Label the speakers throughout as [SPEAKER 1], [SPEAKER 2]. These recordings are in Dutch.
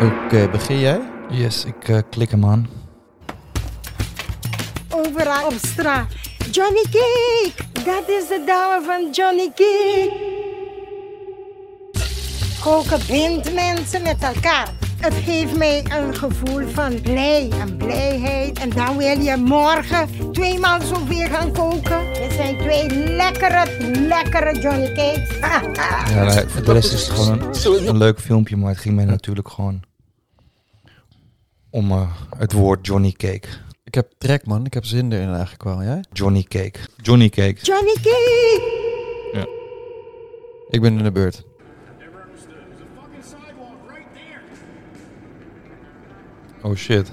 [SPEAKER 1] Oké, eh, begin jij?
[SPEAKER 2] Yes, ik eh, klik hem aan.
[SPEAKER 3] Overal op straat. Johnny Cake, dat is de dame van Johnny Cake. Koken bindt mensen met elkaar. Het geeft mij een gevoel van blij en blijheid. En dan wil je morgen tweemaal zoveel gaan koken. Dit zijn twee lekkere, lekkere Johnny Cakes.
[SPEAKER 2] Ja, maar voor de rest is het gewoon een, een leuk filmpje, maar het ging mij natuurlijk gewoon om eh, het woord Johnny Cake.
[SPEAKER 1] Ik heb trek, man. Ik heb zin erin eigenlijk wel. Jij?
[SPEAKER 2] Johnny Cake. Johnny Cake.
[SPEAKER 3] Johnny Cake!
[SPEAKER 1] Ik ben in de beurt.
[SPEAKER 2] Oh shit.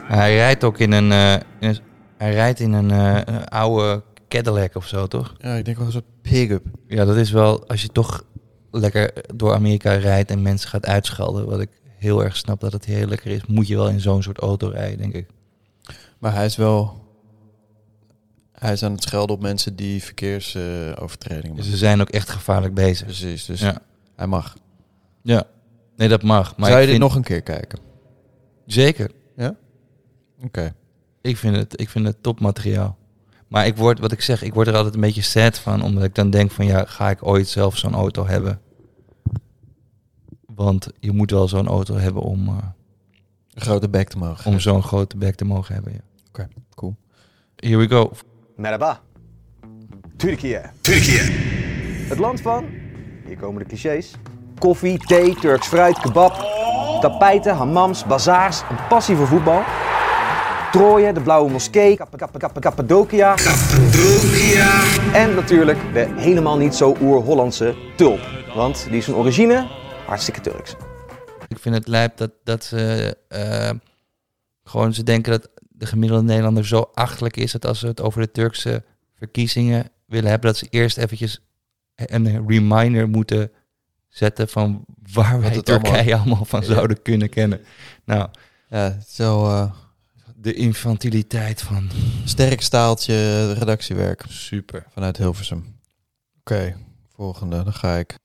[SPEAKER 2] Hij rijdt ook in een, eh, in een- hij rijdt in een eh, een oude Cadillac of zo, toch?
[SPEAKER 1] Ja, ik denk wel een soort pick-up.
[SPEAKER 2] Ja, dat is wel als je toch lekker door Amerika rijdt en mensen gaat uitschelden, wat ik heel erg snap dat het heel lekker is, moet je wel in zo'n soort auto rijden, denk ik.
[SPEAKER 1] Maar hij is wel... Hij is aan het schelden op mensen die verkeersovertredingen
[SPEAKER 2] Dus
[SPEAKER 1] maken.
[SPEAKER 2] ze zijn ook echt gevaarlijk bezig.
[SPEAKER 1] Precies, dus
[SPEAKER 2] Ja.
[SPEAKER 1] hij mag.
[SPEAKER 2] Ja. Nee, dat mag. Maar
[SPEAKER 1] Zou je
[SPEAKER 2] ik
[SPEAKER 1] dit
[SPEAKER 2] vind-
[SPEAKER 1] nog een keer kijken?
[SPEAKER 2] Zeker.
[SPEAKER 1] Ja? Oké.
[SPEAKER 2] Ik vind het, ik vind het topmateriaal. Maar ik word, wat ik zeg, ik word er altijd een beetje sad van. Omdat ik dan denk van, ja, ga ik ooit zelf zo'n auto hebben? Want je moet wel zo'n auto hebben om, eh,
[SPEAKER 1] Een grote bek te mogen.
[SPEAKER 2] om zo'n grote bek te mogen hebben. Ja.
[SPEAKER 1] Oké, cool.
[SPEAKER 2] Here we go.
[SPEAKER 4] Merhaba. Türkiye. Turkije. Het land van, hier komen de clichés, koffie, thee, Turks fruit, kebab, tapijten, hammams, bazaars, een passie voor voetbal. Troje, de Blauwe Moskee, Kap- Kap- Kap- Kappadokia. En natuurlijk de helemaal niet zo oer-Hollandse tulp. Want die is van origine hartstikke Turks.
[SPEAKER 2] Ik vind het lijp dat, dat ze eh, gewoon ze denken dat de gemiddelde Nederlander zo achterlijk is dat als ze het over de Turkse verkiezingen willen hebben, dat ze eerst eventjes een reminder moeten zetten van waar wij
[SPEAKER 1] het
[SPEAKER 2] Turkije allemaal, van
[SPEAKER 1] Ja.
[SPEAKER 2] zouden kunnen kennen. Nou,
[SPEAKER 1] Ja, zo eh
[SPEAKER 2] de infantiliteit van
[SPEAKER 1] sterk staaltje redactiewerk
[SPEAKER 2] super.
[SPEAKER 1] vanuit Hilversum. Oké, volgende. Dan ga ik.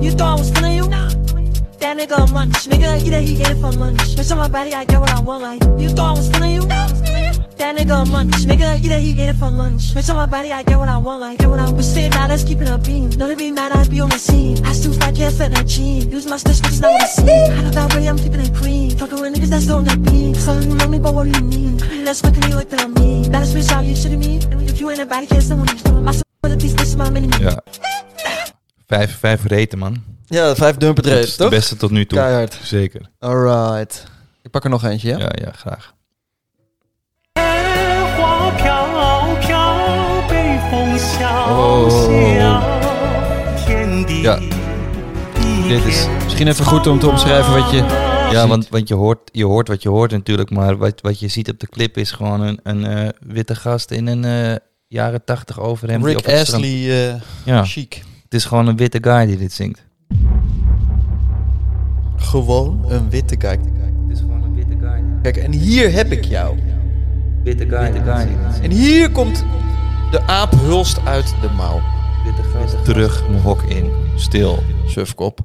[SPEAKER 5] You thought I was feeling you? Nah. That nigga a munch. Nigga, you know he ate it for lunch. Bitch, on my body, I get what I want, like. You thought I was feeling you? That nigga a munch. Nigga, you know he ate it for lunch. Bitch, on my body, I get what I want, like. Get what I want. Stay mad, let's keep it a beam. Know to be mad, I'd be on the scene. I still fat, can't fit in a jean. Use my stitch, but it's not what I see. I know that way, I'm keeping it clean. Fucking with niggas that's on the beat. So you know me, but what do you mean? Let's fucking you like that I mean. That is bitch, out, you shitting me? If you ain't a body, can't someone you feel. I said, with these bitches, my mini
[SPEAKER 2] Ja. Vijf, vijf reten, man.
[SPEAKER 1] Ja, vijf dumper
[SPEAKER 2] dat is de beste tot nu toe.
[SPEAKER 1] Eh, Keihard.
[SPEAKER 2] Zeker.
[SPEAKER 1] Alright. Ik pak er nog eentje, ja?
[SPEAKER 2] Ja, ja, graag.
[SPEAKER 6] 花飘飘，北风萧萧
[SPEAKER 2] Oh.，
[SPEAKER 6] 天地
[SPEAKER 2] Ja.
[SPEAKER 6] 一
[SPEAKER 2] Dit
[SPEAKER 6] 片
[SPEAKER 2] is
[SPEAKER 1] Misschien even goed om te omschrijven wat je...
[SPEAKER 2] Ja, want, want je, hoort, je hoort wat je hoort natuurlijk, maar wat, wat je ziet op de clip is gewoon een, een eh, witte gast in een eh, jaren tachtig overhemd. die
[SPEAKER 1] Rick
[SPEAKER 2] op het strand-
[SPEAKER 1] Astley eh
[SPEAKER 2] Ja,
[SPEAKER 1] chic.
[SPEAKER 2] het is gewoon een witte guy die dit zingt.
[SPEAKER 1] Gewoon een witte kijk.
[SPEAKER 2] Het is gewoon een witte guy.
[SPEAKER 1] Kijk, en hier heb ik jou.
[SPEAKER 2] Witte guy, witte guy die dit zingt.
[SPEAKER 1] En hier komt de aap hulst uit de mouw.
[SPEAKER 2] Terug mijn hok in, stil.
[SPEAKER 1] Sufkop.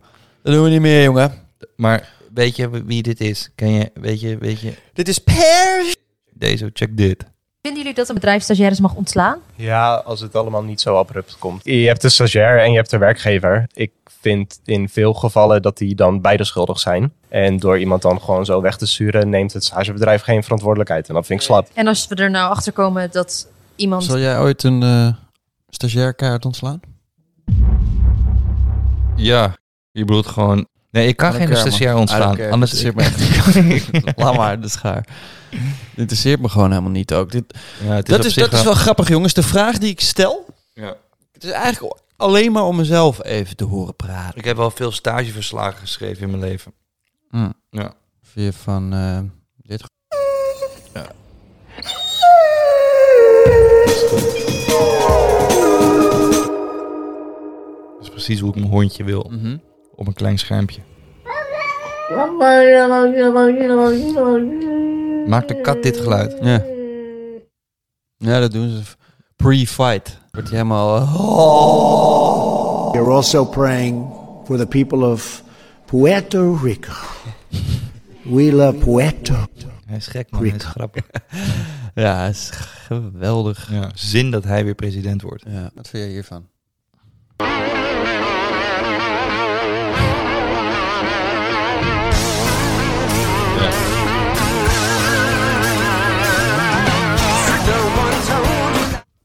[SPEAKER 1] Dat doen we niet meer, jongen.
[SPEAKER 2] Maar weet je wie dit is? Ken je, weet je, weet je,
[SPEAKER 1] Dit is pers.
[SPEAKER 2] deze, check dit.
[SPEAKER 7] Vinden jullie dat een bedrijf stagiaires mag ontslaan?
[SPEAKER 8] Ja, als het allemaal niet zo abrupt komt. Je hebt de stagiair en je hebt de werkgever. Ik vind in veel gevallen dat die dan beide schuldig zijn. En door iemand dan gewoon zo weg te sturen, eh, neemt het stagebedrijf geen verantwoordelijkheid. En dat vind ik slap.
[SPEAKER 7] En als we er nou achter komen dat iemand.
[SPEAKER 1] Zal jij ooit een eh stagiairkaart ontslaan?
[SPEAKER 2] Ja, je bedoelt gewoon... Nee, ik kan
[SPEAKER 1] I don't
[SPEAKER 2] geen
[SPEAKER 1] care, man.
[SPEAKER 2] stagiair
[SPEAKER 1] I don't
[SPEAKER 2] ontslaan.
[SPEAKER 1] care.
[SPEAKER 2] Anders
[SPEAKER 1] Het interesseert me echt. Laat maar, de schaar. Het interesseert me gewoon helemaal niet ook. Dit,
[SPEAKER 2] Ja, het
[SPEAKER 1] dat
[SPEAKER 2] op
[SPEAKER 1] is,
[SPEAKER 2] zich
[SPEAKER 1] dat is wel grappig, jongens. De vraag die ik stel,
[SPEAKER 2] Ja.
[SPEAKER 1] het is eigenlijk alleen maar om mezelf even te horen praten.
[SPEAKER 2] Ik heb wel veel stageverslagen geschreven in mijn leven.
[SPEAKER 1] Hm.
[SPEAKER 2] Ja.
[SPEAKER 1] Via van eh, dit. Ja.
[SPEAKER 2] Dat is precies hoe ik mijn hondje wil.
[SPEAKER 1] Mhm.
[SPEAKER 2] Op een klein schermpje. Maakt de kat dit geluid?
[SPEAKER 1] Ja. ja, dat doen ze. Pre-fight. Wordt je helemaal... eh, oh.
[SPEAKER 9] We're also praying for the people of Puerto Rico. We love Puerto.
[SPEAKER 2] Hij is gek, man. Hij is grappig.
[SPEAKER 1] Ja, het is geweldig.
[SPEAKER 2] Ja, zin dat hij weer president wordt.
[SPEAKER 1] Ja. Wat vind jij hiervan?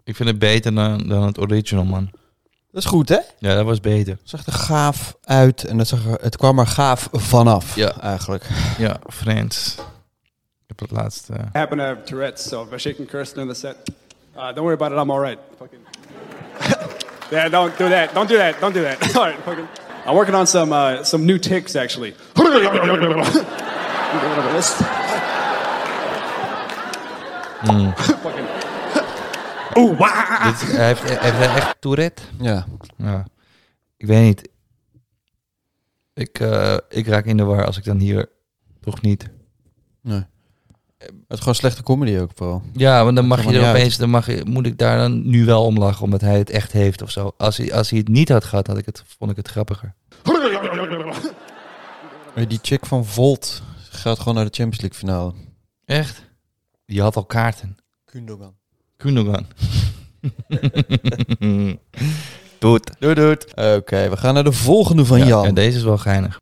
[SPEAKER 2] Ik vind het beter dan, dan het original, man.
[SPEAKER 1] Dat is goed, hè?
[SPEAKER 2] Ja, dat was beter.
[SPEAKER 1] Het zag er gaaf uit en het, zag er- het kwam er gaaf vanaf,
[SPEAKER 2] Ja.
[SPEAKER 1] eigenlijk.
[SPEAKER 2] Ja, Friends. Ik heb het eh, laatste...
[SPEAKER 10] I happen to have Tourette's, so if I shake and curse during the set, uh, don't worry about it. I'm all right. Fucking. yeah, don't do that. Don't do that. Don't do that. all right. Fucking. I'm working on some uh, some new ticks actually. That's
[SPEAKER 2] Dit, hij heeft, heeft hij echt Tourette?
[SPEAKER 1] Ja.
[SPEAKER 2] Ja. Ik weet niet. Ik, eh, ik raak in de war als ik dan hier toch niet.
[SPEAKER 1] Het is gewoon slechte comedy ook vooral.
[SPEAKER 2] Ja, want dan mag
[SPEAKER 1] kan
[SPEAKER 2] je
[SPEAKER 1] maar
[SPEAKER 2] er
[SPEAKER 1] niet
[SPEAKER 2] opeens, dan mag je, moet ik daar dan nu wel om lachen, omdat hij het echt heeft of zo. Als hij, als hij het niet had gehad, had ik het, vond ik het grappiger.
[SPEAKER 1] Maar Die chick van Volt gaat gewoon naar de Champions League finale.
[SPEAKER 2] Echt? Die had al kaarten.
[SPEAKER 1] Kundogan.
[SPEAKER 2] Kundogan. Doet.
[SPEAKER 1] Doei, doei. Oké, we gaan naar de volgende van
[SPEAKER 2] ja,
[SPEAKER 1] Jan.
[SPEAKER 2] ja, deze is wel geinig.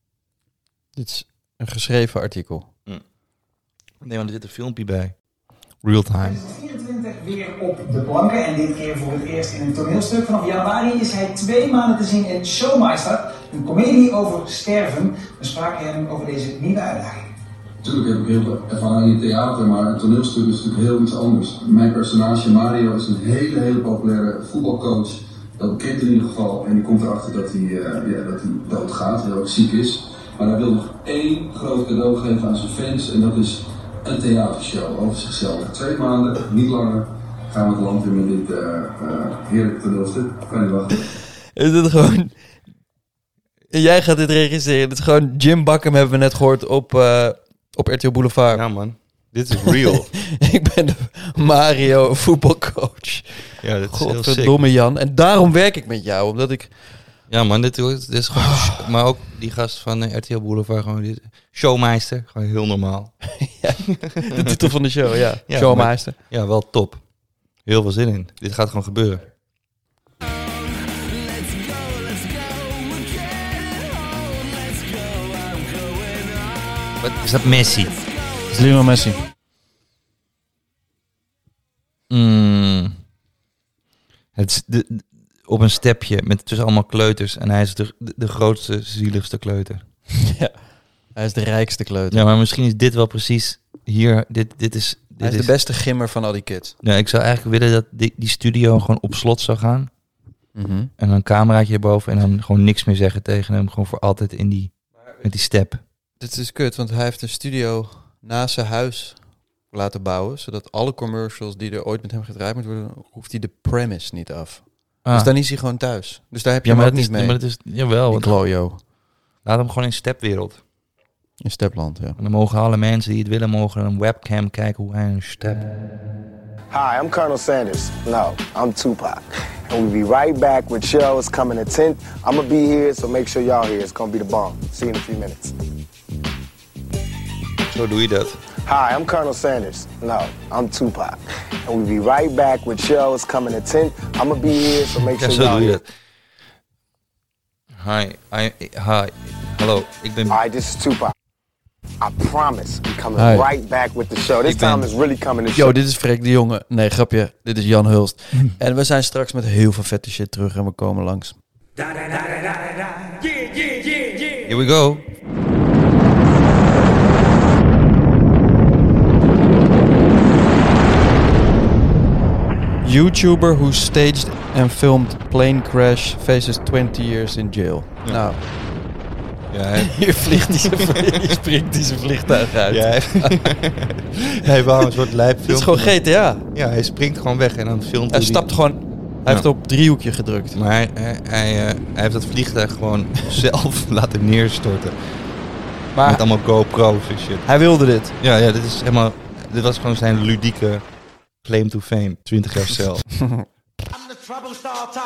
[SPEAKER 1] Dit is een geschreven artikel.
[SPEAKER 2] Nee, want er zit een filmpje bij. Real time.
[SPEAKER 10] 24 weer op de planken en dit keer voor het eerst in een toneelstuk. Vanaf januari is hij twee maanden te zien in Showmeister, een comedie over sterven. We spraken hem over deze nieuwe uitdaging. Natuurlijk heb ik heel veel ervaring in theater, maar een toneelstuk is natuurlijk heel iets anders. Mijn personage Mario is een hele, hele populaire voetbalcoach. Dat bekend in ieder geval. En die komt erachter dat hij, eh, ja, dat hij doodgaat, heel erg ziek is. Maar hij wil nog één groot cadeau geven aan zijn fans. En dat is een theatershow over zichzelf. Twee maanden, niet langer, gaan we het land in met dit eh eh heerlijke toneelstuk. Kan je wachten.
[SPEAKER 1] Is dit gewoon... Jij gaat dit registreren. Dit is gewoon Jim Bakken hebben we net gehoord op, eh, op RTL Boulevard.
[SPEAKER 2] Ja, man. Dit is real.
[SPEAKER 1] Ik ben de Mario voetbalcoach.
[SPEAKER 2] ja, dit is heel sick.
[SPEAKER 1] Godverdomme Jan. En daarom werk ik met jou. Omdat ik...
[SPEAKER 2] Ja, man, dit, is- dit is gewoon. Maar ook die gast van eh, RTL Boulevard, gewoon dit, showmeister, gewoon heel normaal.
[SPEAKER 1] De titel van de show, ja.
[SPEAKER 2] Ja,
[SPEAKER 1] Showmeister.
[SPEAKER 2] Ja, wel top. Heel veel zin in. Dit gaat gewoon gebeuren. Wat is dat Messi?
[SPEAKER 1] Het is Lionel Messi.
[SPEAKER 2] Mm. Het is de, de- op een stepje met tussen allemaal kleuters en hij is de, de, de grootste, zieligste kleuter.
[SPEAKER 1] Hij is de rijkste kleuter.
[SPEAKER 2] Ja, maar misschien is dit wel precies hier. Dit, dit is, dit
[SPEAKER 1] Hij is de
[SPEAKER 2] is-
[SPEAKER 1] beste gimmer van al die kids.
[SPEAKER 2] Nou, ik zou eigenlijk willen dat die, die studio gewoon op slot zou gaan.
[SPEAKER 1] Mhm.
[SPEAKER 2] En een cameraatje erboven en dan gewoon niks meer zeggen tegen hem. Gewoon voor altijd in die, met die step.
[SPEAKER 1] Dit is kut, want hij heeft een studio naast zijn huis laten bouwen. Zodat alle commercials die er ooit met hem gedraaid moeten worden, hoeft hij de premise niet af. Dus dan is hij gewoon thuis. Dus daar heb je
[SPEAKER 2] Ah. ja, maar
[SPEAKER 1] hem
[SPEAKER 2] dat is,
[SPEAKER 1] ook niet mee.
[SPEAKER 2] maar dat is, jawel.
[SPEAKER 1] Die
[SPEAKER 2] want
[SPEAKER 1] klojo.
[SPEAKER 2] laat hem gewoon in stepwereld.
[SPEAKER 1] In Stepland, ja.
[SPEAKER 2] En dan mogen alle mensen die het willen, mogen een webcam kijken hoe hij een step...
[SPEAKER 9] Hi, I'm Colonel Sanders. No, I'm Tupac. And we'll be right back with shows coming at 10. I'm going to be here, so make sure y'all here. It's going to be the bomb. See you in a few minutes.
[SPEAKER 2] Zo doe je dat.
[SPEAKER 9] Hi, I'm Colonel Sanders. No, I'm Tupac. And we'll be right back with shows coming at 10. I'm going to be here, so make
[SPEAKER 2] Ja,
[SPEAKER 9] sure
[SPEAKER 2] zo
[SPEAKER 9] y'all
[SPEAKER 2] doe je
[SPEAKER 9] here.
[SPEAKER 2] dat. Hi, I, hi, hallo, ik ben...
[SPEAKER 9] Hi, this is Tupac. I promise I'm coming
[SPEAKER 1] Hi.
[SPEAKER 9] right back with the show. This
[SPEAKER 1] Ik ben-
[SPEAKER 9] time is really coming to
[SPEAKER 1] Yo,
[SPEAKER 9] show.
[SPEAKER 1] dit is Freek de Jonge. Nee, grapje. Dit is Jan Hulst. en we zijn straks met heel veel vette shit terug en we komen langs.
[SPEAKER 2] Here we go.
[SPEAKER 1] YouTuber who staged and filmed plane crash faces 20 years in jail. Nou,
[SPEAKER 2] Ja, hij-
[SPEAKER 1] hier vliegt hij zijn vlie- hier springt hij zijn vliegtuig uit.
[SPEAKER 2] Ja, hij- hij wou een soort lijpfilm.
[SPEAKER 1] Dit is gewoon GTA.
[SPEAKER 2] Ja, hij springt gewoon weg en dan filmt
[SPEAKER 1] Hij
[SPEAKER 2] hoe
[SPEAKER 1] stapt gewoon... Hij heeft op driehoekje gedrukt.
[SPEAKER 2] Maar hij, hij, hij, eh, hij heeft dat vliegtuig gewoon zelf laten neerstorten.
[SPEAKER 1] Maar-
[SPEAKER 2] Met allemaal GoPro's en shit.
[SPEAKER 1] Hij wilde dit.
[SPEAKER 2] Ja, ja, dit is helemaal... Dit was gewoon zijn ludieke claim to fame. 20 jaar cel.
[SPEAKER 6] I'm the trouble starter,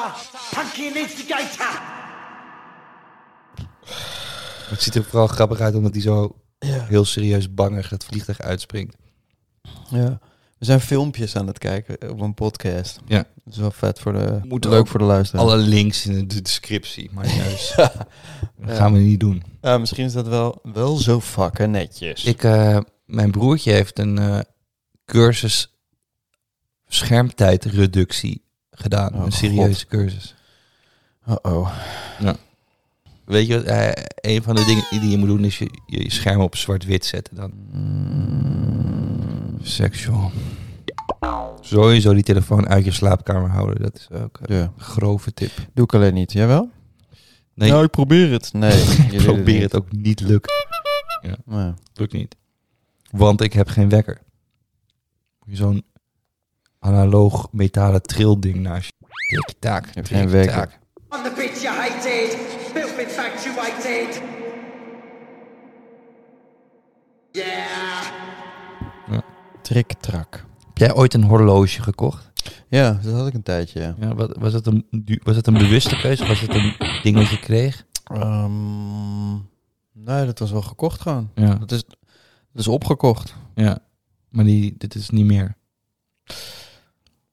[SPEAKER 6] punky instigator.
[SPEAKER 2] Het ziet er vooral grappig uit omdat hij zo
[SPEAKER 1] Ja.
[SPEAKER 2] heel serieus bangig het vliegtuig uitspringt.
[SPEAKER 1] Ja. We zijn filmpjes aan het kijken op een podcast.
[SPEAKER 2] Ja.
[SPEAKER 1] Dat is wel vet voor de...
[SPEAKER 2] Moet ook
[SPEAKER 1] leuk voor de luisteraar.
[SPEAKER 2] Alle links in de descriptie, maar juist. Dat
[SPEAKER 1] Ja.
[SPEAKER 2] gaan we niet doen.
[SPEAKER 1] Ja, misschien is dat wel, wel zo fucking netjes.
[SPEAKER 2] Ik, eh, mijn broertje heeft een eh, cursus schermtijdreductie gedaan.
[SPEAKER 1] Oh,
[SPEAKER 2] een serieuze cursus.
[SPEAKER 1] Uh-oh.
[SPEAKER 2] Weet je wat? eh, een van de dingen die je moet doen is je, je scherm op zwart-wit zetten dan. Sexual. Sowieso die telefoon uit je slaapkamer houden. Dat is ook een
[SPEAKER 1] Ja.
[SPEAKER 2] grove tip.
[SPEAKER 1] Doe ik alleen niet. Jij wel? Nou,
[SPEAKER 2] Nee.
[SPEAKER 1] ik probeer het. Nee, je doet
[SPEAKER 2] Nou, Probeer
[SPEAKER 1] niet.
[SPEAKER 2] het ook niet lukt.
[SPEAKER 1] Nee.
[SPEAKER 2] Lukt niet. Want ik heb geen wekker. Moet je Zo'n analoog metalen trilding naast je. Tik-tak.
[SPEAKER 1] hebt geen wekker.
[SPEAKER 2] tik-tak.
[SPEAKER 6] On the bitch you hated, filth infatuated. Yeah.
[SPEAKER 1] Triktrak.
[SPEAKER 2] Heb jij ooit een horloge gekocht?
[SPEAKER 1] Ja, dat had ik een tijdje. ja.
[SPEAKER 2] Ja, wat, was, dat een, du- was dat een bewuste keuze? of Was het een ding wat je kreeg?
[SPEAKER 1] Ehm, nee, dat was wel gekocht gewoon.
[SPEAKER 2] Ja.
[SPEAKER 1] Dat is, dat is opgekocht.
[SPEAKER 2] ja. Maar die, dit is niet meer.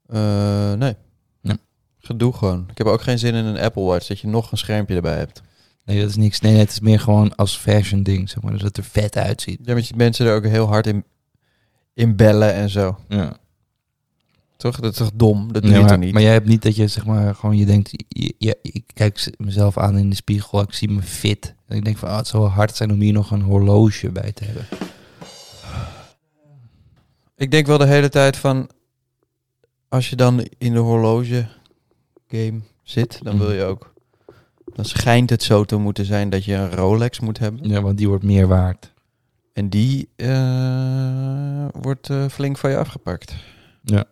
[SPEAKER 1] Eh, nee.
[SPEAKER 2] Ja.
[SPEAKER 1] Gedoe gewoon. Ik heb ook geen zin in een Apple Watch, dat je nog een schermpje erbij hebt.
[SPEAKER 2] Nee, dat is niks. Nee, het is meer gewoon als fashion ding, zeg maar. Dus dat het er vet uitziet.
[SPEAKER 1] Ja, met je mensen er ook heel hard in, in bellen en zo.
[SPEAKER 2] Ja.
[SPEAKER 1] Toch? Dat is toch dom? Dat doe
[SPEAKER 2] Nee,
[SPEAKER 1] je
[SPEAKER 2] maar,
[SPEAKER 1] toch niet?
[SPEAKER 2] maar jij hebt niet dat je zeg maar gewoon je denkt, je- je- ik kijk z- mezelf aan in de spiegel, ik zie me fit. En ik denk van, ah, het zou wel hard zijn om hier nog een horloge bij te hebben.
[SPEAKER 1] Ik denk wel de hele tijd van... Als je dan in de horloge game zit,
[SPEAKER 2] Mm.
[SPEAKER 1] dan wil je ook... Dan schijnt het zo te moeten zijn dat je een Rolex moet hebben.
[SPEAKER 2] Ja, want die wordt meer waard.
[SPEAKER 1] En die eh, wordt eh, flink van je afgepakt.
[SPEAKER 2] Ja.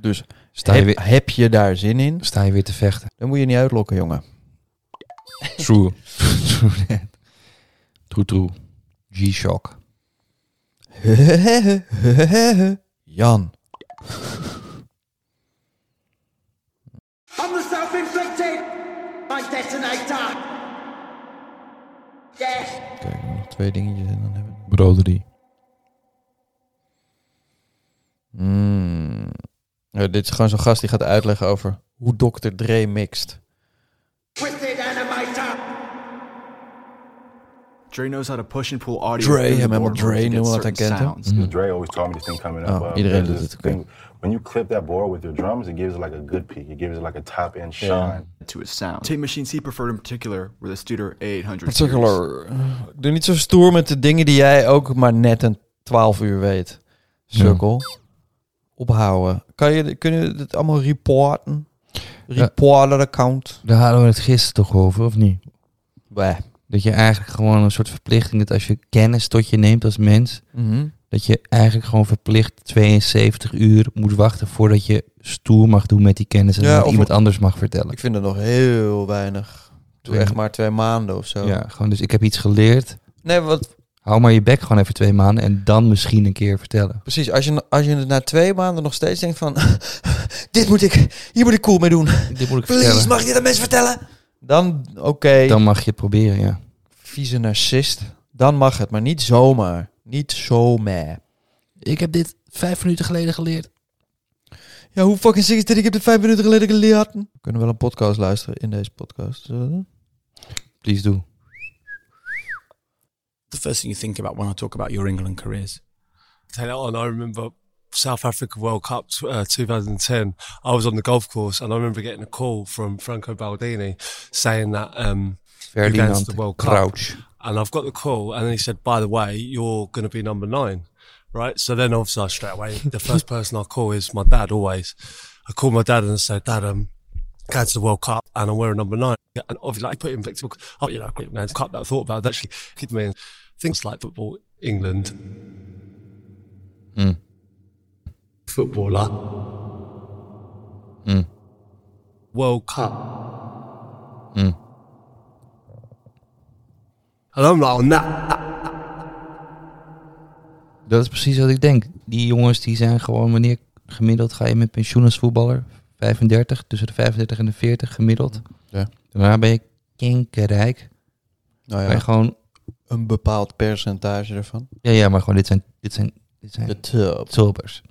[SPEAKER 1] Dus
[SPEAKER 2] Sta je,
[SPEAKER 1] heb,
[SPEAKER 2] weer,
[SPEAKER 1] heb je daar zin in,
[SPEAKER 2] sta je weer te vechten.
[SPEAKER 1] dan moet je niet uitlokken, jongen.
[SPEAKER 2] True. true that. True, true. G-Shock.
[SPEAKER 1] Jan.
[SPEAKER 6] I'm the self-inflicted, my detonator. Yeah.
[SPEAKER 1] Kijk, nog twee dingetjes en dan hebben we...
[SPEAKER 2] Broderie.
[SPEAKER 1] Mm. Ja, dit is gewoon zo'n gast die gaat uitleggen over hoe Dr. Dre mixt.
[SPEAKER 6] Twisted animator.
[SPEAKER 11] Dre knows how to push and pull audio.
[SPEAKER 1] Dre,
[SPEAKER 11] through the
[SPEAKER 1] hem helemaal
[SPEAKER 11] boardroom
[SPEAKER 1] Dre
[SPEAKER 11] to get
[SPEAKER 1] noemen, want hij
[SPEAKER 11] certain
[SPEAKER 1] kent hem.
[SPEAKER 11] sounds.
[SPEAKER 12] Dre always taught me this thing coming up.
[SPEAKER 1] Oh,
[SPEAKER 12] uh,
[SPEAKER 1] iedereen
[SPEAKER 12] there's
[SPEAKER 1] doet
[SPEAKER 12] this
[SPEAKER 1] het, oké.
[SPEAKER 12] thing- When you clip that board with your drums, it gives it like a good peak. It gives it like a top end shine.
[SPEAKER 11] To his sound. Tape machines he preferred in particular were the Studer A800. series.
[SPEAKER 1] Particular. Doe niet zo stoer met de dingen die jij ook maar net een 12 uur weet. Sukkel. Ophouden. Kan je, kunnen we dit allemaal reporten? Reporter account.
[SPEAKER 2] Daar hadden we het gisteren toch over, of niet?
[SPEAKER 1] Bah.
[SPEAKER 2] Dat je eigenlijk gewoon een soort verplichting hebt als je kennis tot je neemt als mens.
[SPEAKER 1] Mhm.
[SPEAKER 2] Dat je eigenlijk gewoon verplicht 72 uur moet wachten voordat je stoer mag doen met die kennis en
[SPEAKER 1] Ja,
[SPEAKER 2] dat
[SPEAKER 1] of-
[SPEAKER 2] iemand anders mag vertellen.
[SPEAKER 1] Ik vind het nog heel weinig. Doe
[SPEAKER 2] Ja.
[SPEAKER 1] echt maar twee maanden of zo.
[SPEAKER 2] Ja, gewoon dus ik heb iets geleerd.
[SPEAKER 1] Nee, wat,
[SPEAKER 2] Hou maar je bek gewoon even twee maanden en dan misschien een keer vertellen.
[SPEAKER 1] precies. Als je, als je het na twee maanden nog steeds denkt van... dit moet ik, hier moet ik cool mee doen.
[SPEAKER 2] Dit moet ik
[SPEAKER 1] Please,
[SPEAKER 2] vertellen.
[SPEAKER 1] mag ik dit aan mensen vertellen? Dan, oké.
[SPEAKER 2] Dan mag je het proberen, ja.
[SPEAKER 1] vieze narcist. Dan mag het, maar niet zomaar. Niet zo meh.
[SPEAKER 2] Ik heb dit vijf minuten geleden geleerd.
[SPEAKER 1] Ja, hoe fucking sick is dit? Ik heb dit vijf minuten geleden geleerd. We kunnen wel een podcast luisteren in deze podcast. Zullen we dat doen?
[SPEAKER 2] Please do.
[SPEAKER 13] the first thing you think about when I talk about your England careers?
[SPEAKER 14] Take that on. I remember South Africa World Cup uh, 2010. I was on the golf course and I remember getting a call from Franco Baldini saying that um, you're going to
[SPEAKER 2] Ferdinand
[SPEAKER 14] the World Cup.
[SPEAKER 2] Crouch.
[SPEAKER 14] And I've got the call and then he said, by the way, you're going to be number nine, right? So then obviously I straight away, the first person I call is my dad always. I call my dad and I say, Dad, um, going to the World Cup and I'm wearing number nine. And obviously, like, put in Victor, oh, you know, quick man's cup that I thought about it actually kid me. Things like football, England, footballer,
[SPEAKER 2] Mm.
[SPEAKER 14] World Cup.
[SPEAKER 2] Mm.
[SPEAKER 14] And I'm like, on that.
[SPEAKER 2] Dat is precies wat ik denk. Die jongens die zijn gewoon, wanneer gemiddeld ga je met pensioen als voetballer? 35, tussen de 35 en de 40 gemiddeld.
[SPEAKER 1] Ja.
[SPEAKER 2] Daarna ben je kinkerrijk.
[SPEAKER 1] Nou ja.
[SPEAKER 2] Kan je gewoon,
[SPEAKER 1] Een bepaald percentage ervan.
[SPEAKER 2] ja, ja, maar gewoon dit zijn, dit zijn, dit zijn
[SPEAKER 1] De top.
[SPEAKER 2] tulpers.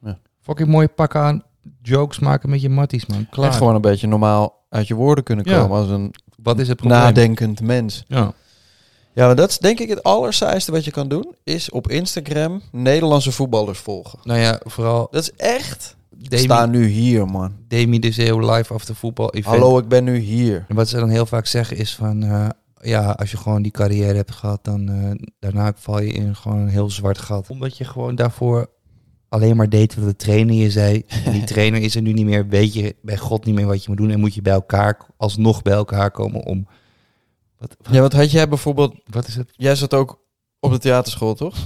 [SPEAKER 1] Ja.
[SPEAKER 2] Fucking mooie pakken aan, jokes maken met je matties, man. Klaar.
[SPEAKER 1] Echt gewoon een beetje normaal uit je woorden kunnen
[SPEAKER 2] Ja.
[SPEAKER 1] komen als een
[SPEAKER 2] Wat is het probleem?
[SPEAKER 1] nadenkend mens.
[SPEAKER 2] Ja.
[SPEAKER 1] Ja, maar dat is denk ik het allersaaiste wat je kan doen, is op Instagram Nederlandse voetballers volgen.
[SPEAKER 2] Nou ja, vooral
[SPEAKER 1] Dat is echt.
[SPEAKER 2] Demi-
[SPEAKER 1] Ik sta nu hier, man.
[SPEAKER 2] Demi de Zeeuw live after voetbal event.
[SPEAKER 1] Hallo, ik ben nu hier.
[SPEAKER 2] En wat ze dan heel vaak zeggen is van... eh, ja, als je gewoon die carrière hebt gehad, dan eh, daarna val je in gewoon een heel zwart gat. Omdat je gewoon daarvoor alleen maar deed wat de trainer je zei. En die trainer is er nu niet meer, weet je bij God niet meer wat je moet doen. En moet je bij elkaar, alsnog bij elkaar komen om... Wat,
[SPEAKER 1] Ja, wat had jij bijvoorbeeld...
[SPEAKER 2] Wat is het?
[SPEAKER 1] Jij zat ook op de theaterschool, toch?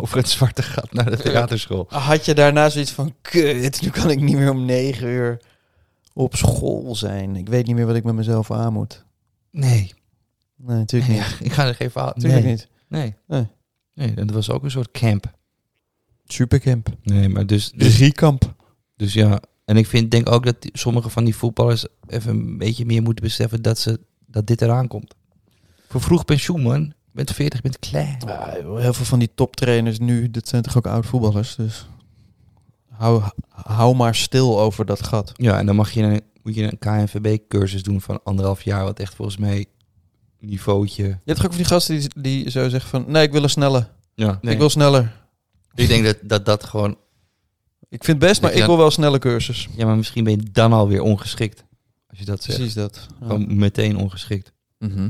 [SPEAKER 2] Over het zwarte gat naar de theaterschool.
[SPEAKER 1] Ah, Had je daarna zoiets van, kut, nu kan ik niet meer om negen uur op school zijn. Ik weet niet meer wat ik met mezelf aan moet.
[SPEAKER 2] Nee.
[SPEAKER 1] Nee, natuurlijk niet.
[SPEAKER 2] Ja, ik ga er geen verhaal...
[SPEAKER 1] Natuurlijk
[SPEAKER 2] nee.
[SPEAKER 1] niet.
[SPEAKER 2] Nee.
[SPEAKER 1] Nee.
[SPEAKER 2] Nee, dat was ook een soort camp.
[SPEAKER 1] Supercamp.
[SPEAKER 2] Nee, maar dus...
[SPEAKER 1] Regiekamp.
[SPEAKER 2] Dus ja, en ik vind, denk ook dat die- sommige van die voetballers even een beetje meer moeten beseffen dat, ze, dat dit eraan komt. Voor vroeg pensioen, man. Je bent 40, je bent klaar.
[SPEAKER 1] Ja, joh, Ah, heel veel van die toptrainers nu, dat zijn toch ook oud voetballers. Dus hou, hou maar stil over dat gat.
[SPEAKER 2] Ja, en dan mag je een, moet je een KNVB-cursus doen van anderhalf jaar, wat echt volgens mij niveautje...
[SPEAKER 1] Je hebt toch ook van die gasten die, die zo zeggen van, nee, ik wil er sneller.
[SPEAKER 2] Ja, nee.
[SPEAKER 1] Ik wil sneller.
[SPEAKER 2] Ik denk dat dat, dat gewoon...
[SPEAKER 1] Ik vind het best,
[SPEAKER 2] Dat
[SPEAKER 1] maar
[SPEAKER 2] je
[SPEAKER 1] ik wil wel snelle cursus.
[SPEAKER 2] Ja, maar misschien ben je dan alweer ongeschikt. Als je dat zegt.
[SPEAKER 1] Precies dat. Ja.
[SPEAKER 2] Gewoon meteen ongeschikt.
[SPEAKER 1] Mhm.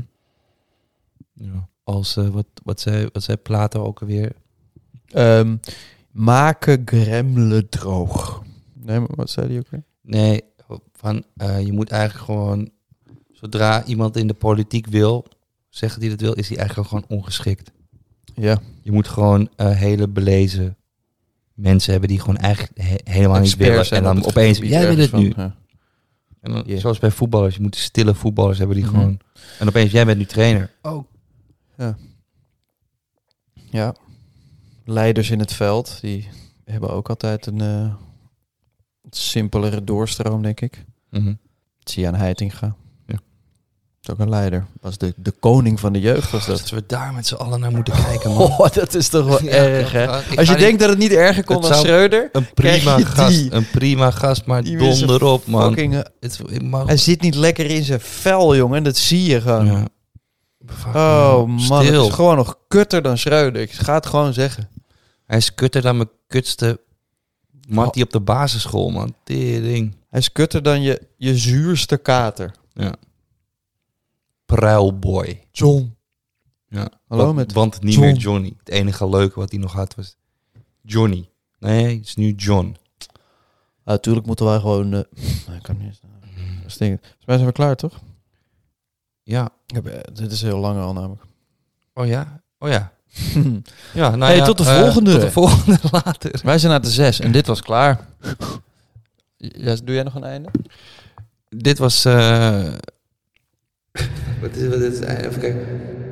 [SPEAKER 2] Ja. Als, eh, wat, wat, zei, wat zei Plato ook alweer?
[SPEAKER 1] Ehm, maken gremlen droog. Nee, maar wat zei die ook weer?
[SPEAKER 2] Nee, van, eh, je moet eigenlijk gewoon... Zodra iemand in de politiek wil, zeggen die dat wil, is hij eigenlijk gewoon ongeschikt.
[SPEAKER 1] Ja,
[SPEAKER 2] Je moet gewoon eh, hele belezen mensen hebben die gewoon eigenlijk he- helemaal niet
[SPEAKER 1] experts
[SPEAKER 2] willen.
[SPEAKER 1] zijn
[SPEAKER 2] En
[SPEAKER 1] op
[SPEAKER 2] dan
[SPEAKER 1] het
[SPEAKER 2] opeens,
[SPEAKER 1] gebied
[SPEAKER 2] jij wil
[SPEAKER 1] ergens
[SPEAKER 2] het nu.
[SPEAKER 1] van, ja.
[SPEAKER 2] En dan,
[SPEAKER 1] Ja.
[SPEAKER 2] Zoals bij voetballers, je moet stille voetballers hebben die
[SPEAKER 1] Mhm.
[SPEAKER 2] gewoon... En opeens, jij bent nu trainer. Oh.
[SPEAKER 1] Ja. Leiders in het veld, die hebben ook altijd een eh, simpelere doorstroom, denk ik.
[SPEAKER 2] Mhm.
[SPEAKER 1] Sian Heitinga.
[SPEAKER 2] Ja.
[SPEAKER 1] Is ook een leider. Was de, de koning van de jeugd, was
[SPEAKER 2] Dat
[SPEAKER 1] dat.
[SPEAKER 2] we daar met z'n allen naar moeten kijken, man.
[SPEAKER 1] Oh, dat is toch wel
[SPEAKER 2] Ja,
[SPEAKER 1] erg,
[SPEAKER 2] ja,
[SPEAKER 1] hè?
[SPEAKER 2] ja, ik
[SPEAKER 1] Als
[SPEAKER 2] ga
[SPEAKER 1] je
[SPEAKER 2] niet-
[SPEAKER 1] denkt dat het niet erger kon
[SPEAKER 2] Het
[SPEAKER 1] dan
[SPEAKER 2] zou-
[SPEAKER 1] Schreuder...
[SPEAKER 2] Een
[SPEAKER 1] krijg
[SPEAKER 2] prima
[SPEAKER 1] je
[SPEAKER 2] gast,
[SPEAKER 1] die.
[SPEAKER 2] een prima gast, maar
[SPEAKER 1] Die mensen
[SPEAKER 2] donder op, man.
[SPEAKER 1] fucking, eh,
[SPEAKER 2] Het, ik mag-
[SPEAKER 1] Hij zit niet lekker in zijn vel, jongen. Dat zie je gewoon.
[SPEAKER 2] Ja. Fuck,
[SPEAKER 1] Oh man,
[SPEAKER 2] Stil.
[SPEAKER 1] het is gewoon nog kutter dan Schreuder. Ik ga het gewoon zeggen.
[SPEAKER 2] Hij is kutter dan mijn kutste mattie op de basisschool, man. Tering.
[SPEAKER 1] Hij is kutter dan je, je zuurste kater.
[SPEAKER 2] Ja. Pruilboy.
[SPEAKER 1] John.
[SPEAKER 2] Ja.
[SPEAKER 1] Hallo
[SPEAKER 2] want,
[SPEAKER 1] met
[SPEAKER 2] Want niet
[SPEAKER 1] John.
[SPEAKER 2] meer Johnny. Het enige leuke wat hij nog had was Johnny. Nee, het is nu John.
[SPEAKER 1] Natuurlijk Ah, moeten wij gewoon... eh, ik kan niet... Volgens mij zijn we klaar, toch?
[SPEAKER 2] Ja.
[SPEAKER 1] Ik heb, eh, dit is heel lang al namelijk.
[SPEAKER 2] Oh ja? Oh ja. ja nou
[SPEAKER 1] Hey,
[SPEAKER 2] ja,
[SPEAKER 1] tot de
[SPEAKER 2] eh,
[SPEAKER 1] volgende.
[SPEAKER 2] Tot de volgende later.
[SPEAKER 1] wij zijn naar de zes en dit was klaar. Ja, doe jij nog een einde?
[SPEAKER 2] Dit was... eh, wat is, wat is, even kijken.